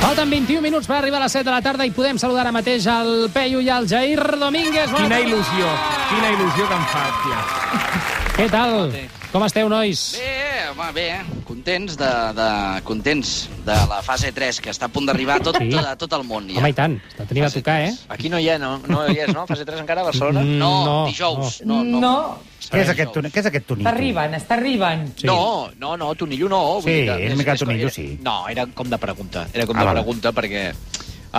Falten 21 minuts per arribar a les 7 de la tarda i podem saludar ara mateix el Peyu i el Jair Domínguez. Bona Quina tarda. il·lusió, quina il·lusió que em fa, tia. Què tal? Com esteu, nois? Bé, home, bé. eh? Contents de, de, contents de la fase 3, que està a punt d'arribar a tot, Sí. tot, a tot el món. Ja. Home, i tant. Està tenint a Fase tocar, eh? tres. Aquí no hi ha, no? No hi és, no? Fase 3 encara a Barcelona? Mm, No, no, dijous. No, No, no. Què és aquest, toni- què és aquest tonito? Està arribant, està arribant. Sí. No, no, no, Tonillo no. Sí, dir és mica Tonillo, sí. No, era com de pregunta. Era com Ah, de val. pregunta perquè uh,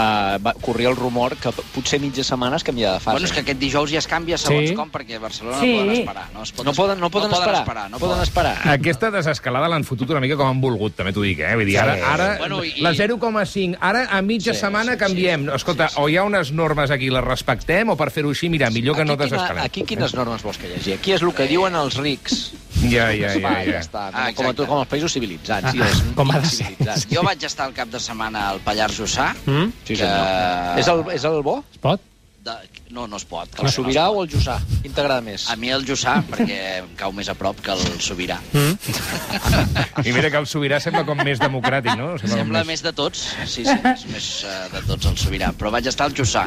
va, corria el rumor que p- potser mitja setmana es canvia de fase. Bueno, és que aquest dijous ja es canvia segons Sí. com, perquè a Barcelona Sí. no poden esperar. No, es pot no poden, no poden, no esperar. No poden esperar. esperar. Aquesta desescalada l'han fotut una mica com han volgut, també t'ho dic, eh? Vull dir, ara, Sí. ara Bueno, i- la 0,5, ara a mitja Sí, setmana sí, canviem. Escolta, o hi ha unes normes aquí, les respectem, o per fer-ho així, mira, millor que no aquí, desescalem. aquí quines normes vols que llegir? Aquí és el que diuen els rics. Ja, ja, ja. Va, ja ja. està. Eh. Ah, com, a, exacte. tu- com els països civilitzats. i els com ha de ser. incivilitzats. Jo vaig estar el cap de setmana al Pallars Jussà. Mm? Sí, que... senyor. És el, és el bo? Es pot? De... No, no es pot. que El no Sobirà o el Jussà? Quin t'agrada més? A mi el Jussà, perquè em cau més a prop que el Sobirà. I mira que el Sobirà sembla com més democràtic, no? com Sembla més de tots, sí, sí, és més eh, de tots el Sobirà, però vaig estar al Jussà.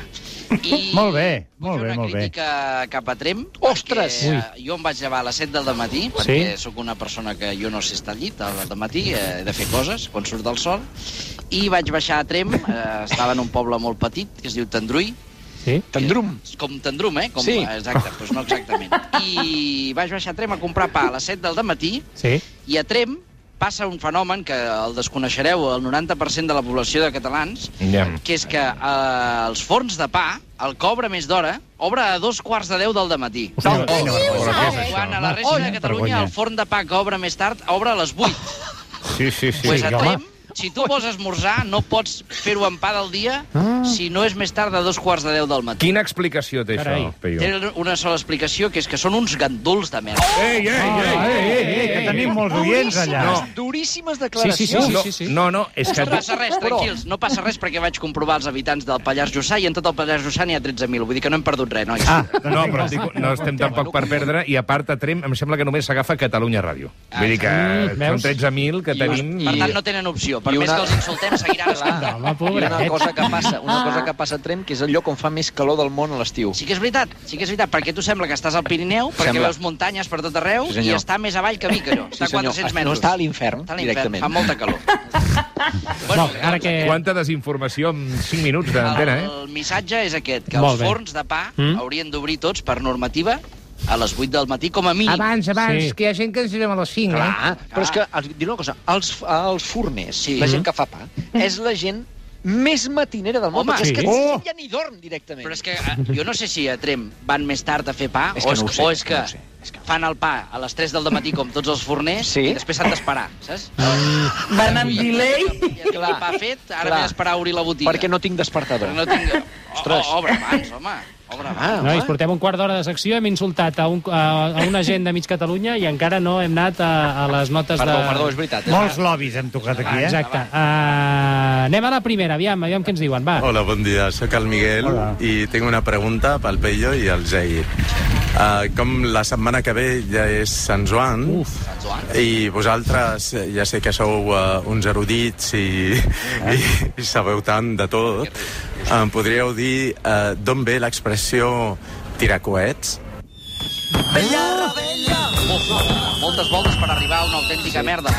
I Molt bé, vull molt fer bé, una molt bé. crítica cap a Trem. Ostres! Perquè, eh, jo em vaig llevar a les 7 del matí, perquè Sí? sóc una persona que jo no sé estar al llit al matí, eh, he de fer coses quan surt el sol, i vaig baixar a Trem, eh, estava en un poble molt petit, que es diu Tendrull, Sí? Tendrum. com Tendrum, eh? Com, Sí. Exacte, doncs no exactament. I vaig baixar a Trem a comprar pa a les 7 del matí, Sí? i a Trem passa un fenomen que el desconeixereu el 90% de la població de catalans, Ja. que és que eh, els forns de pa, el cobra més d'hora, obre a dos quarts de deu del matí. Quina vergonya. Quan a la resta de Catalunya el forn de pa que obre més tard obre a les 8. Sí, sí, sí. pues a home. Trem, si tu vols esmorzar, no pots fer-ho en pa del dia Ah. si no és més tard a dos quarts de deu del matí. Quina explicació té Carai. això, Peyu? Té una sola explicació, que és que són uns ganduls de merda. Ei, ei, ei! Eh, eh, eh, que tenim molts oients allà. No. Duríssimes Sí, declaracions. sí, sí, sí, No, sí, sí. no, no, és que... No passa res, tranquils, no passa res perquè vaig comprovar els habitants del Pallars Jussà i en tot el Pallars Jussà n'hi ha 13.000, vull dir que no hem perdut res, nois. Ah, No, però dic, no estem tampoc per perdre, i a part a Trem em sembla que només s'agafa Catalunya Ràdio. Vull dir que Mm, són veus? 13.000 que I- tenim... Per i- tant, no tenen opció. Per i més una- Ah. que els insultem, seguiran escoltant. Home, I una pobret. cosa que passa, una cosa que passa a Trem, que és el lloc on fa més calor del món a l'estiu. Ah. Sí que és veritat, sí que és veritat, perquè tu sembla que estàs al Pirineu, perquè Sembla. veus muntanyes per tot arreu Sí, i senyor. està més avall que Vic, allò. Està a 400 metres. Ah, No està a l'infern, Està a l'infern, directament. fa molta calor. Bueno, ara que... Quanta desinformació en 5 minuts El, d'antena, eh? el missatge és aquest, que Molt els bé. forns de pa Mm. haurien d'obrir tots per normativa a les 8 del matí, com a Ah, mínim. abans, Sí. que hi ha gent que ens anirem a les 5, Clar, però és que, els- dir una cosa, els, els forners, Sí. la Mhm. gent que fa pa, és la gent més matinera del món, Home, perquè sí. és que Oh! ja ni dorm directament. Però és que eh, jo no sé si a Trem van més tard a fer pa És o que és, no ho sé, o és és que que no ho sé, és que no. fan el pa a les 3 del matí com tots els forners Sí. Mm. i després s'han d'esperar, saps? Van amb delay. Ja tinc el pa fet, ara Clar. m'he d'esperar a obrir la botiga. Perquè no tinc despertador. Però no tinc... O, Ostres. obre abans, home. Obre abans. Ah, Nois, home. portem un quart d'hora de secció, hem insultat a, un, a, a una gent de mig Catalunya i encara no hem anat a, a les notes Perdó, de... perdó, és veritat. eh? Molts lobbies hem tocat aquí, eh? Exacte. Uh, anem a la primera, aviam, aviam què ens diuen, va. Hola, bon dia. Sóc el Miguel Hola. i tinc una pregunta pel Peyo i el Jair. Uh, com la setmana que ve ja és Sant Joan Uf. i vosaltres eh, ja sé que sou uh, uns erudits i, eh? i, i sabeu tant de tot, em podríeu dir uh, d'on ve l'expressió tiracoets? Moltes voltes per arribar a una autèntica merda.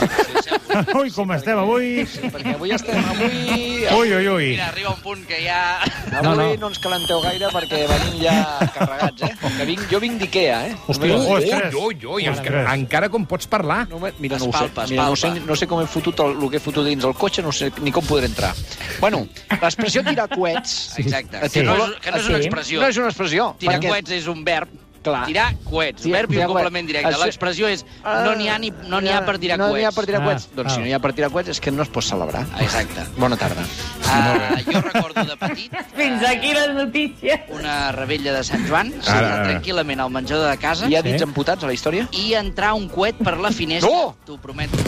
Ui, com estem avui. Perquè avui estem... Avui... Ui, ui, ui. Mira, arriba un punt que ja... Avui No, no, no. no. no ens calenteu gaire perquè venim ja carregats, eh? Que vinc, jo vinc d'Ikea, eh? Hòstia. Només- Ostres. Ui, ui, ui, encara, Ostres. encara com pots parlar. No, me- mira, no ho sé. Espalpa, espalpa. Mira, no, sé, no sé com he fotut el, el que he fotut dins el cotxe, no sé ni com podré entrar. Bueno, l'expressió tirar coets... Exacte. et Que, no titula- és, que no és Sí. una expressió. No és una expressió. Tirar perquè- coets és un verb. Clar. Tirar coets, Tirar- verb i tirar un coets. complement directe. Això- L'expressió és no n'hi ha, ni, no n'hi ha per tirar No n'hi coets. Ah. ha per tirar Ah, coets. doncs ah. si no n'hi ha per tirar coets és que no es pot celebrar. Exacte. Bona tarda. Ah, jo recordo de petit Fins aquí les notícies. una rebella de Sant Joan, Ara, seure ara. tranquil·lament al menjador de casa Hi ha dits amputats a la història? i entrar un coet per la finestra. No! T'ho prometo.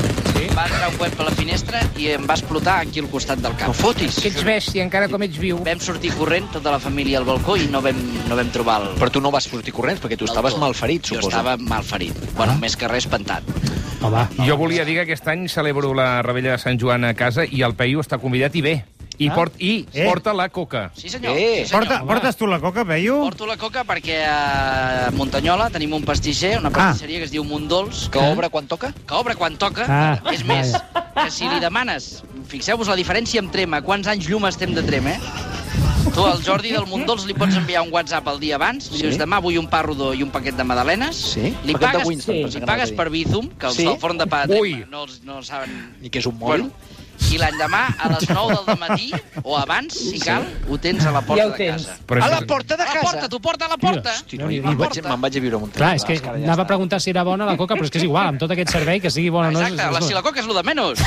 Va entrar un coet per la finestra i em va explotar aquí al costat del cap. fotis. ets bèstia, encara com ets viu. Vam sortir corrent, tota la família al balcó, i no vam, no vam trobar el... Però tu no vas sortir corrents perquè tu estaves el- malferit, Jo suposo. Ah. estava malferit. Bueno, més que res, espantat. Home, Jo volia dir que aquest any celebro la Rebella de Sant Joan a casa i el Peyu està convidat i bé. I, port, i Eh. porta la coca. Sí, senyor. Eh, sí, senyor. Porta, portes tu la coca, Peyu? Porto la coca perquè a Montanyola tenim un pastisser, Ah. una pastisseria que es diu Mondols, Que obre quan toca? que obre quan toca. Ah, és més, que si li demanes... Fixeu-vos la diferència amb Trema. Quants anys llum estem de Trema, eh? Tu al Jordi del Mondols li pots enviar un WhatsApp el dia abans, si us demà vull un pa rodó i un paquet de madalenes, Sí, li paquet de pagues, Winston, sí. li pensava que anava a pagues dir. per Bizum, que els Sí? del forn de pa de Trema Ui. no, els- no els saben I que és un mòbil? i l'endemà, a les 9 del matí o abans, si cal, ho tens a la porta Ja ho de tens. casa. Però a és- Ah, la porta de A la casa? porta, t'ho porta a la porta. Hosti, no, I- i, i me'n porta. vaig, me'n vaig a viure a Montreal. Ah, Clar, és que anava a preguntar si era bona la coca, però és que és igual, amb tot aquest servei, que sigui bona o no... és- Exacte, la, si la coca és el de menys.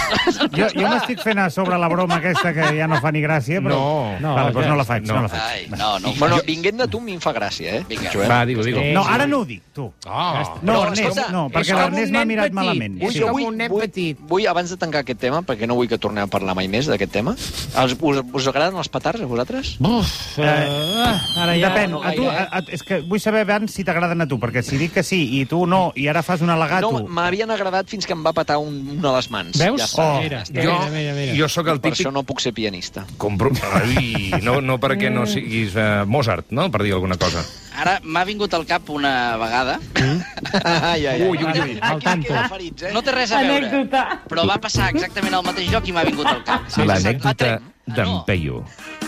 Jo, jo m'estic fent a sobre la broma aquesta que ja no fa ni gràcia, però... No. no, vale, doncs ja. no la faig, No. no, no la faig. Ai, no, no. Bueno, vinguent de tu, a mi em fa gràcia, eh? Vinga. Joan. Va, digue, digue. Sí. No, ara no ho dic, tu. Oh. No, Però, Ernest, escolta, no, perquè és com l'Ernest m'ha mirat malament. Vull, Sí. jo vull, vull, vull, abans de tancar aquest tema, perquè no vull que tornem a parlar mai més d'aquest tema, els, us, us agraden els petards, a vosaltres? Buf, eh, ara ja... Depèn, no a tu, a, gaire, a, és que vull saber abans si t'agraden a tu, perquè si dic que sí i tu no, i ara fas un al·legato... No, m'havien agradat fins que em va petar un, un a les mans. Veus? Ja està. Oh. mira, Jo, mira, mira, mira. jo sóc el Per típic això no puc ser pianista. Compro... Ai, no, no perquè Eh. no siguis uh, Mozart, no? Per dir alguna cosa. Ara m'ha vingut al cap una vegada. ai, ai, ai. Ui, ui, ui. Al tanto. ferits, eh? No té res a veure, Anècdota. però va passar exactament al mateix lloc i m'ha vingut al cap. L'anècdota Ah, d'en no. Peyu.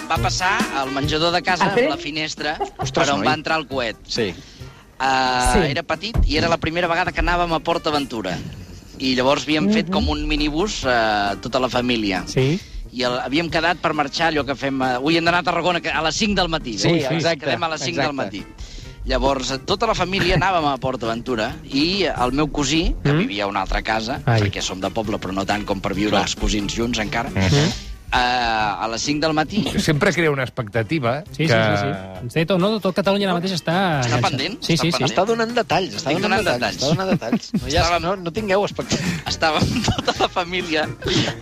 Va passar al menjador de casa, A Trem? amb la finestra, Ostres, per on noi. va entrar el coet. Sí. Uh, Sí. sí. Era petit i era la primera vegada que anàvem a Port Aventura. I llavors havíem fet Mhm. com un minibús uh, tota la família. Sí? I el, havíem quedat per marxar allò que fem... Uh, avui hem d'anar a Tarragona que- a les 5 del matí. Sí, veus? exacte, Quedem a les 5 del exacte. matí. Llavors, eh, tota la família anàvem a Port Aventura i el meu cosí, que Mm. vivia a una altra casa, Ai. perquè som de poble, però no tant com per viure els cosins junts encara, Mhm. eh, a les 5 del matí Sempre crea una expectativa Sí, que... sí, sí, sí. Ens té tot, no? Tot Catalunya ara mateix està... Està enganxat. pendent, Sí, està sí, sí. pendent. Està donant detalls, està Estic donant donant, detalls. detalls. Està donant detalls. No, ja, Estàvem- no, no tingueu expectatives. estàvem tota la família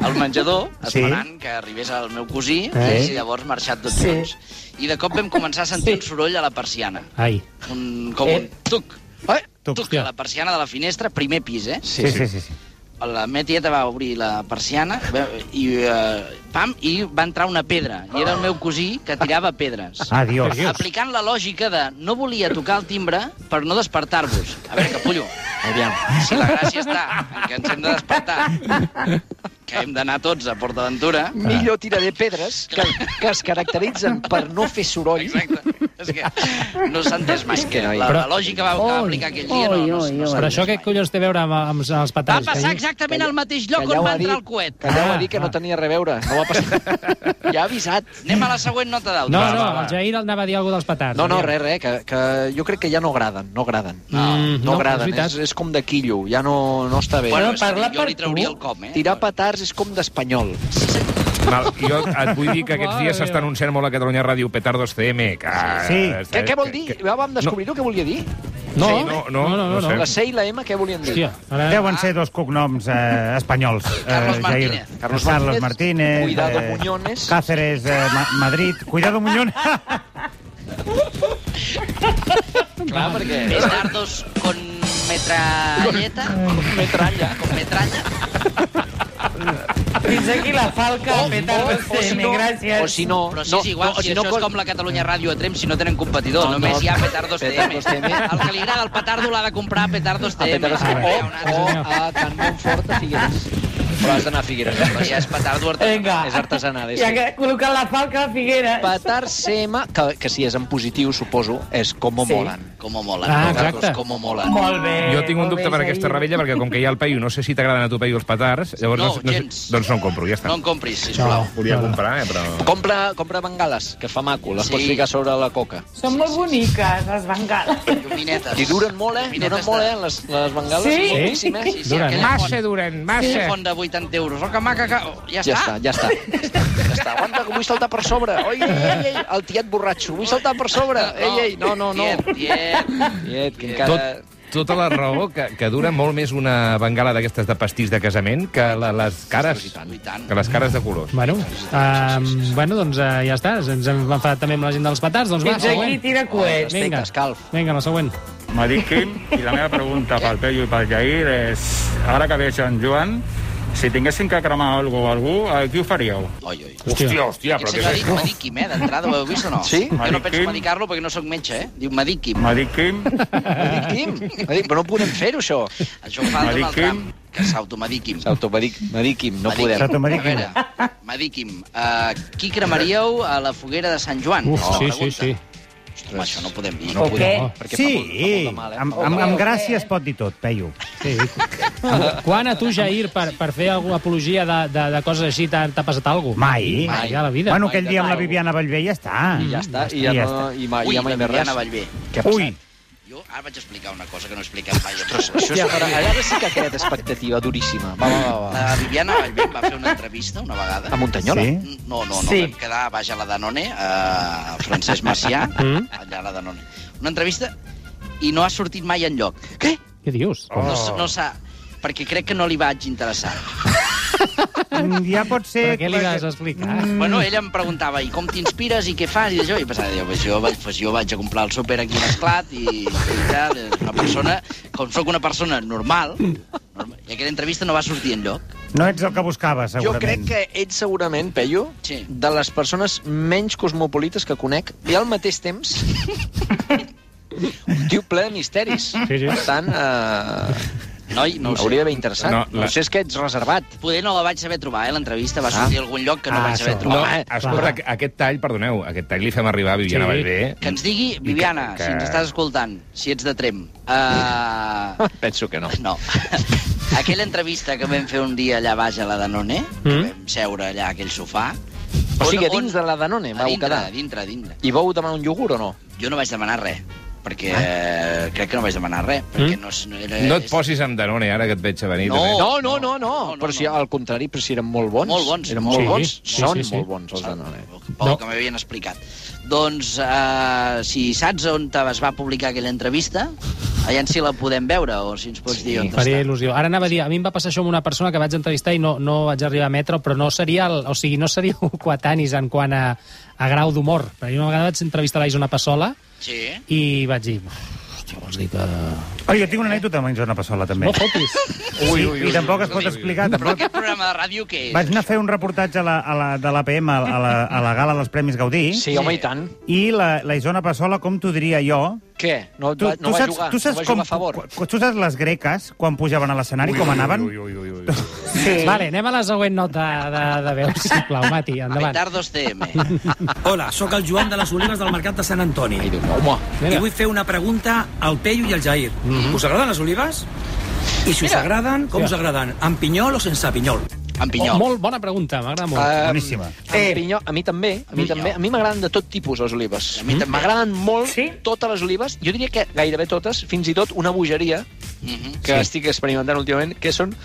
al menjador Sí. esperant que arribés el meu cosí Eh? i llavors marxat tots Sí. junts. I de cop vam començar a sentir un soroll a la persiana. Ai. Un, com Eh? un tuc. Eh? Tuc, Tuc, tuc a la persiana de la finestra, primer pis, eh? Sí, sí, sí. sí. La meva tieta va obrir la persiana ve- i, eh, pam, i va entrar una pedra. I era el meu cosí que tirava pedres. Ah, Adiós. Aplicant la lògica de no volia tocar el timbre per no despertar-vos. A veure, capullo, Aviam. si la gràcia està en que ens hem de despertar, que hem d'anar tots a Port Aventura... Millor tiraré pedres que, que es caracteritzen per no fer soroll. Exacte. És que no s'ha entès mai. Que la, la lògica va, que va aplicar aquell dia no, no, no s'ha Però entès això què mai. collons té a veure amb, amb els Va petards? que passar diu? exactament al mateix Que lloc ja on ho va ha dit, entrar el coet. Que ja ho Ah, ha dit que ah. no tenia a reveure. No va passar. Ja ha avisat. Anem a la següent nota d'àudio. No, Va, no, va, va. el Jair anava a dir alguna cosa dels petards. No, no, aviam. res, res, que, que jo crec que ja no agraden, no agraden. No, Mm, no, no, agraden, és veritat. és, és com de quillo, ja no, no està bé. Ah, Bueno, Bueno, és que parla jo li per trauria tu. el com, eh? Tirar petards és com d'espanyol. Mal, jo et vull dir que aquests Mare dies s'està meva. anunciant molt a Catalunya Ràdio Petardos CM. Que, eh, Sí. Què, què vol dir? Ja vam descobrir no. Eh? què volia dir. No, Sí, no, no, no sé. La C i la M què volien dir? Hòstia, ara... Deuen ser dos cognoms eh, espanyols. Eh, Carlos Jair. Martínez. Carlos Carlos Martínez, Martínez. eh, Cuidado Muñones. Cáceres, eh, Ma Madrid. Cuidado Muñones. Clar, perquè... Petardos con metralleta. Con metralla. Con metralla. Fins aquí la falca oh, petardo o, o si no, gràcies. o si no, Però sí, no, és igual, no, si, això és com la Catalunya Ràdio a Trem, si no tenen competidor, No, no. només hi ha Petardos TM. Petardos TM. El que li agrada el petardo l'ha de comprar a Petardos a TM. Petardos Oh, Ah, o, bé, un altre. o a Can Montfort a Figueres. Però has d'anar a Figueres. Però ja és petardo artesanal. Vinga. És artesanal, és- Ja que col·locat la falca a Figueres. Petar CM, que, que si és en positiu, suposo, és com sí. Sí. molen. Como mola. Ah, Petardos, exacte. Como mola. Molt bé. Jo tinc un molt dubte bé, per aquesta Jair. rebella, perquè com que hi ha el Peyu, no sé si t'agraden a tu, Peyu, els petards, llavors No, no, sé- no, sé- gens. doncs no en compro, ja està. No en compris, sisplau. Volia comprar, eh, però... Compra, compra bengales, que fa maco, les Sí. sí. pots ficar sobre la coca. Són molt boniques, les bengales. Ah, Lluminetes. I duren molt, eh? Duren Lluminetes molt, de- eh? Les, les bengales, Sí? moltíssim, eh? Sí, sí, Duren, aquella eh? font- duren, aquella font de 80 euros. Oh, que maca, que... oh, Ja Ja està, està. ja està. Ja està. Aguanta, que vull saltar per sobre. Oi, ei, ei, ei, el tiet borratxo. Vull saltar per sobre. Ei, ei, no, no, no. Tiet, tiet. Tiet, que Tot, encara... tota la raó que, que dura molt més una bengala d'aquestes de pastís de casament que la, les cares I tant. que les cares de colors. Bueno, um, bueno, doncs uh, ja està. Ens hem enfadat també amb la gent dels petards. Doncs va, Fins aquí següent. tira coets. Vinga, Escalf. vinga, la següent. M'ha dit Quim i la meva pregunta pel Peyu i pel Jair és, ara que ve Sant Joan, Si tinguéssim que cremar algo o algú, a qui ho faríeu? Oi, oi. Hòstia, hòstia, Aquest però senyor ha què dit mediqui'm, eh, d'entrada, ho heu vist o no? Sí? Jo no penso Mediqui'm. medicar-lo perquè no sóc metge, eh? Diu mediqui'm. M'ha dit Quim, Mediquim? Medic, però no podem fer-ho, això. Això ho fa el Donald Mediqui'm. Trump, que s'automediqui'm. S'automedic, mediquim, no podem. S'automediqui'm. A veure, mediqui'm, uh, qui cremaríeu a la foguera de Sant Joan? Uf, És la sí, sí, pregunta. sí. Home, això no podem dir. O què? Perquè sí, fa molt, fa molt de mal, eh? amb, Fa molt amb, de mal. amb gràcia es pot dir tot, Peyu. sí. Quan a tu, Jair, per, per fer alguna apologia de, de, de coses així, t'ha t'ha passat alguna Mai. Mai a la vida. Bueno, mai aquell de dia amb la tal. Viviana Bellver ja està. I ja està, i ja, ja no, està. i mai, Ui, ja mai la més res. Viviana Bellver. Què ha Ui, passat? Jo ara vaig explicar una cosa que no he explicat mai. Ostres, Això és, ara, ara sí que ha creat expectativa duríssima. Va, Ah, va, va. va. La Viviana Bellver em va fer una entrevista una vegada. A Muntanyola? Sí. No, no, no, Sí. sí. vam quedar baix a la Danone, a Francesc Macià, allà a la Danone. Una entrevista i no ha sortit mai en lloc. Què? Què dius? Oh. No, s- no s'ha... Perquè crec que no li vaig interessar. Mm, ja pot ser... Per què li vas explicar? Mm. Bueno, ella em preguntava, i com t'inspires, i què fas, i això, i pensava, jo, pues, jo, vaig, pues, jo vaig a comprar el súper aquí a l'esclat, i, i tal, és una persona, com sóc una persona normal, normal, i aquella entrevista no va sortir en lloc. No ets el que buscaves, Jo segurament. crec que ets segurament, Peyu, Sí. de les persones menys cosmopolites que conec i al mateix temps un tio ple de misteris. Sí, sí. Per tant, eh, Noi, no ho sé. hauria d'haver interessat. No, la- No, la... Potser és que ets reservat. Poder no la vaig saber trobar, eh, l'entrevista. Va sortir a algun lloc que no Ah, vaig saber això. trobar. No. Escolta, Clar. aquest tall, perdoneu, aquest tall li fem arribar a Viviana Sí. sí. Vallvé. Que ens digui, Viviana, que- si ens estàs escoltant, si ets de Trem. Uh, Penso que no. no. Aquella entrevista que vam fer un dia allà baix a la Danone, que Mm. vam seure allà a aquell sofà... O sigui, a on- dins de la Danone A vau dintre, quedar. a dintre, a dintre. I vau demanar un iogurt o no? Jo no vaig demanar res, perquè eh, crec que no vaig demanar res, perquè no, és- no era... No et posis amb Danone, ara que et veig a venir. No. també. No, no, no, no. no, no, però si no. al contrari, però si eren molt bons. Molt bons, Eren molt molt Sí, bons. sí, Són sí, sí. molt bons, els Danone. Pel No. no. que m'havien explicat. Doncs, eh, si saps on te es va publicar aquella entrevista, aviam si la podem veure o si ens pots sí, dir on està. Faria il·lusió. Ara anava a dir, a mi em va passar això amb una persona que vaig entrevistar i no, no vaig arribar a emetre, però no seria, el, o sigui, no seria coetanis en quant a, a grau d'humor. Perquè jo una vegada vaig entrevistar l'Aisona Passola Sí. i vaig dir... Hòstia, vols dir que... Oh, jo tinc una anècdota amb en Joan Passola, també. No fotis. Ui, ui, I tampoc es pot explicar. Però Tampoc... aquest programa de ràdio què és? Vaig anar a fer un reportatge a la, a la, de l'APM, a, la- a, la, a la gala dels Premis Gaudí, Sí, home, i tant. i la, la Isona Passola, com t'ho diria jo... Què? No, Tu, va, no tu va saps, jugar, tu saps no va com, jugar a favor. cu- Tu saps les greques, quan pujaven a l'escenari, com anaven? Ui, ui, ui, ui, ui. Sí. Vale, anem a la següent nota de, de veu, sisplau, Mati, endavant. Oh, Petardos TM. Hola, sóc el Joan de les Olives del Mercat de Sant Antoni. Ai, Déu, home. I Mira, vull fer una pregunta al Peyu i al Jair. Mhm. Us agraden les olives? I si us agraden, com us agraden? Amb pinyol o sense pinyol? En oh, Pinyol. molt bona pregunta, m'agrada molt. Ah, Boníssima. Eh. Pinyol, a mi també, a mi també. A mi m'agraden de tot tipus les olives. A mi també. M'agraden molt sí? Sí? totes les olives. Jo diria que gairebé totes, fins i tot una bogeria Mhm. que sí. estic experimentant últimament, que són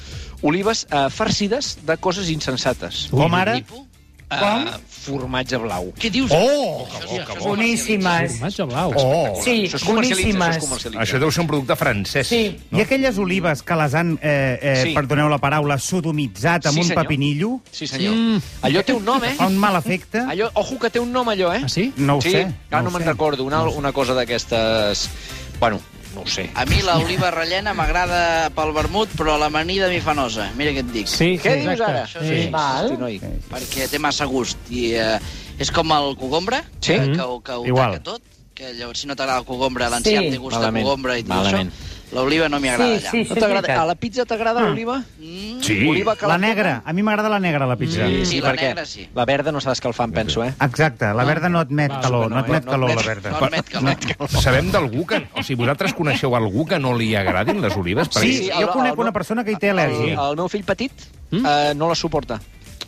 olives eh, farcides de coses insensates. Eh, Com ara? Tipo? Com? Formatge blau. Què dius? Oh, Això sí, això és Boníssimes. Formatge blau. Oh! Sí, Això es comercialitza, això es boníssimes. comercialitza. Això deu ser un producte francès. Sí. I aquelles olives que les han, eh, eh, sí. Sí. perdoneu la paraula, sodomitzat amb Sí, un senyor. pepinillo, Sí, senyor. Mm. Allò té un nom, eh? fa un mal efecte. Allò, ojo que té un nom, allò, eh? Ah, sí? No ho sí, sé. Ara no, ho me'n sé. recordo. Una, una cosa d'aquestes... Bueno, no ho sé. A mi l'oliva rellena m'agrada pel vermut, però l'amanida m'hi fa nosa. Mira què et dic. Sí, Què dius exacte. ara? Sí. Va. Val. Hosti, noi. Perquè té massa gust. I eh, és com el cogombre, eh, Sí. Mm-hmm. que, que, ho- que ho Igual. taca tot. Que llavors, si no t'agrada el cogombre, l'enciam Sí. té gust de Malament. cogombre i tot Malament. això. L'oliva no m'hi agrada Sí, ja. sí, No sí, és t'agrada? veritat. A la pizza t'agrada l'oliva? Mm, Sí. Oliva que La negra. A mi m'agrada la negra, a la pizza. Sí, sí, Sí, sí, la perquè negra sí. la verda no s'ha d'escalfar, em penso, eh? Exacte, la verda no admet Va, calor, no no, admet no calor la admet- verda. no admet calor. Sabem d'algú que... O sigui, vosaltres coneixeu algú que no li agradin les olives? Sí, Sí, jo el- conec el- una persona que hi té El, al·lèrgia. el meu fill petit mm? eh, no la suporta.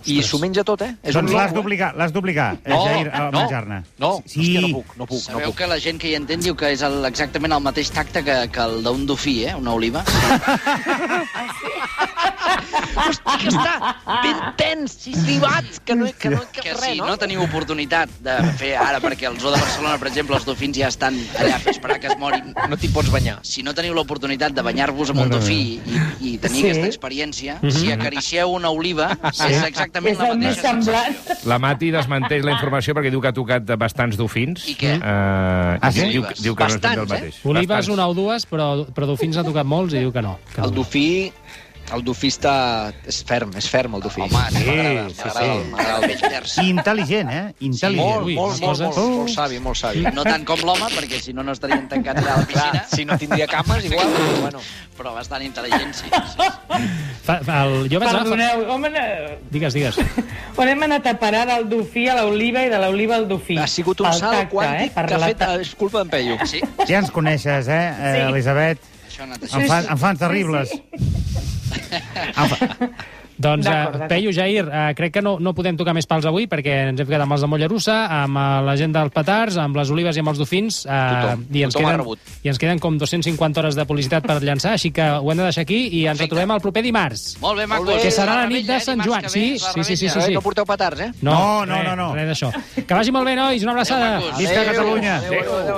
I s'ho menja tot, eh? És Doncs un l'has loco, eh? d'obligar, l'has d'obligar, eh, No, Jair, a no, menjar-ne. no, sí. hòstia, no puc, no puc, no Sabeu puc. que la gent que hi entén diu que és el, exactament el mateix tacte que, que el d'un dofí, eh? Una oliva. Hosti, que està ben tens, libat, que no, que no, que, Que res, si no? no teniu oportunitat de fer ara, perquè al Zoo de Barcelona, per exemple, els dofins ja estan allà fent esperar que es morin, No t'hi pots banyar. si no teniu l'oportunitat de banyar-vos amb un dofí i, i tenir Sí. aquesta experiència, Mhm. si acaricieu una oliva, és exactament És la el més mateixa sensació. semblant. La Mati desmenteix la informació perquè diu que ha tocat bastants dofins. I què? Uh, ah, sí? Diu, diu que no és ben Bastants, del mateix. Olives una o dues, però, però dofins n'ha tocat molts i diu que no. Que El no. dofí El dofista és ferm, és ferm el dofí. Home, sí, sí, sí. m'agrada el vell vers. I intel·ligent, eh? Intel·ligent. Molt, Ui, molt, unes molt, coses. molt, molt savi, molt savi. No tant com l'home, perquè si no, no estarien tancats allà a la Clar, piscina. si no tindria cames, igual, però bueno. Però bastant intel·ligent, sí. sí. Fa, fa, el, jo vaig anar... Perdoneu, on, eh, Fa... Digues, digues. on hem anat a parar del dofí a l'oliva i de l'oliva al dofí? Ha sigut un Pel salt tacte, eh, quàntic per que ha la fet... ta- És culpa d'en Peyu. Sí, Ja ens coneixes, eh, eh Sí. Elisabet? això ha anat així. Em, fan, em fan terribles. Em fa... Doncs, D'acord, uh, d'acord. Peyu, Jair, uh, crec que no, no podem tocar més pals avui perquè ens hem quedat amb els de Mollerussa, amb uh, la gent dels petards, amb les olives i amb els dofins. Uh, Tothom, i, ens tothom ha queden, rebut. I ens queden com 250 hores de publicitat per llançar, així que ho hem de deixar aquí i ens Perfecte. retrobem el proper dimarts. Molt bé, Marcos. bé. Que serà la rebella, nit de eh? Sant Dimarts Joan. que Sí, ve, sí, la sí, sí, rebella. sí. Eh, no porteu petards, eh? No, no, res, no, no. Res d'això. Que vagi molt bé, nois. Una abraçada. Adéu, Marcos. Visca Adéu. Catalunya! Adéu, adéu, adéu.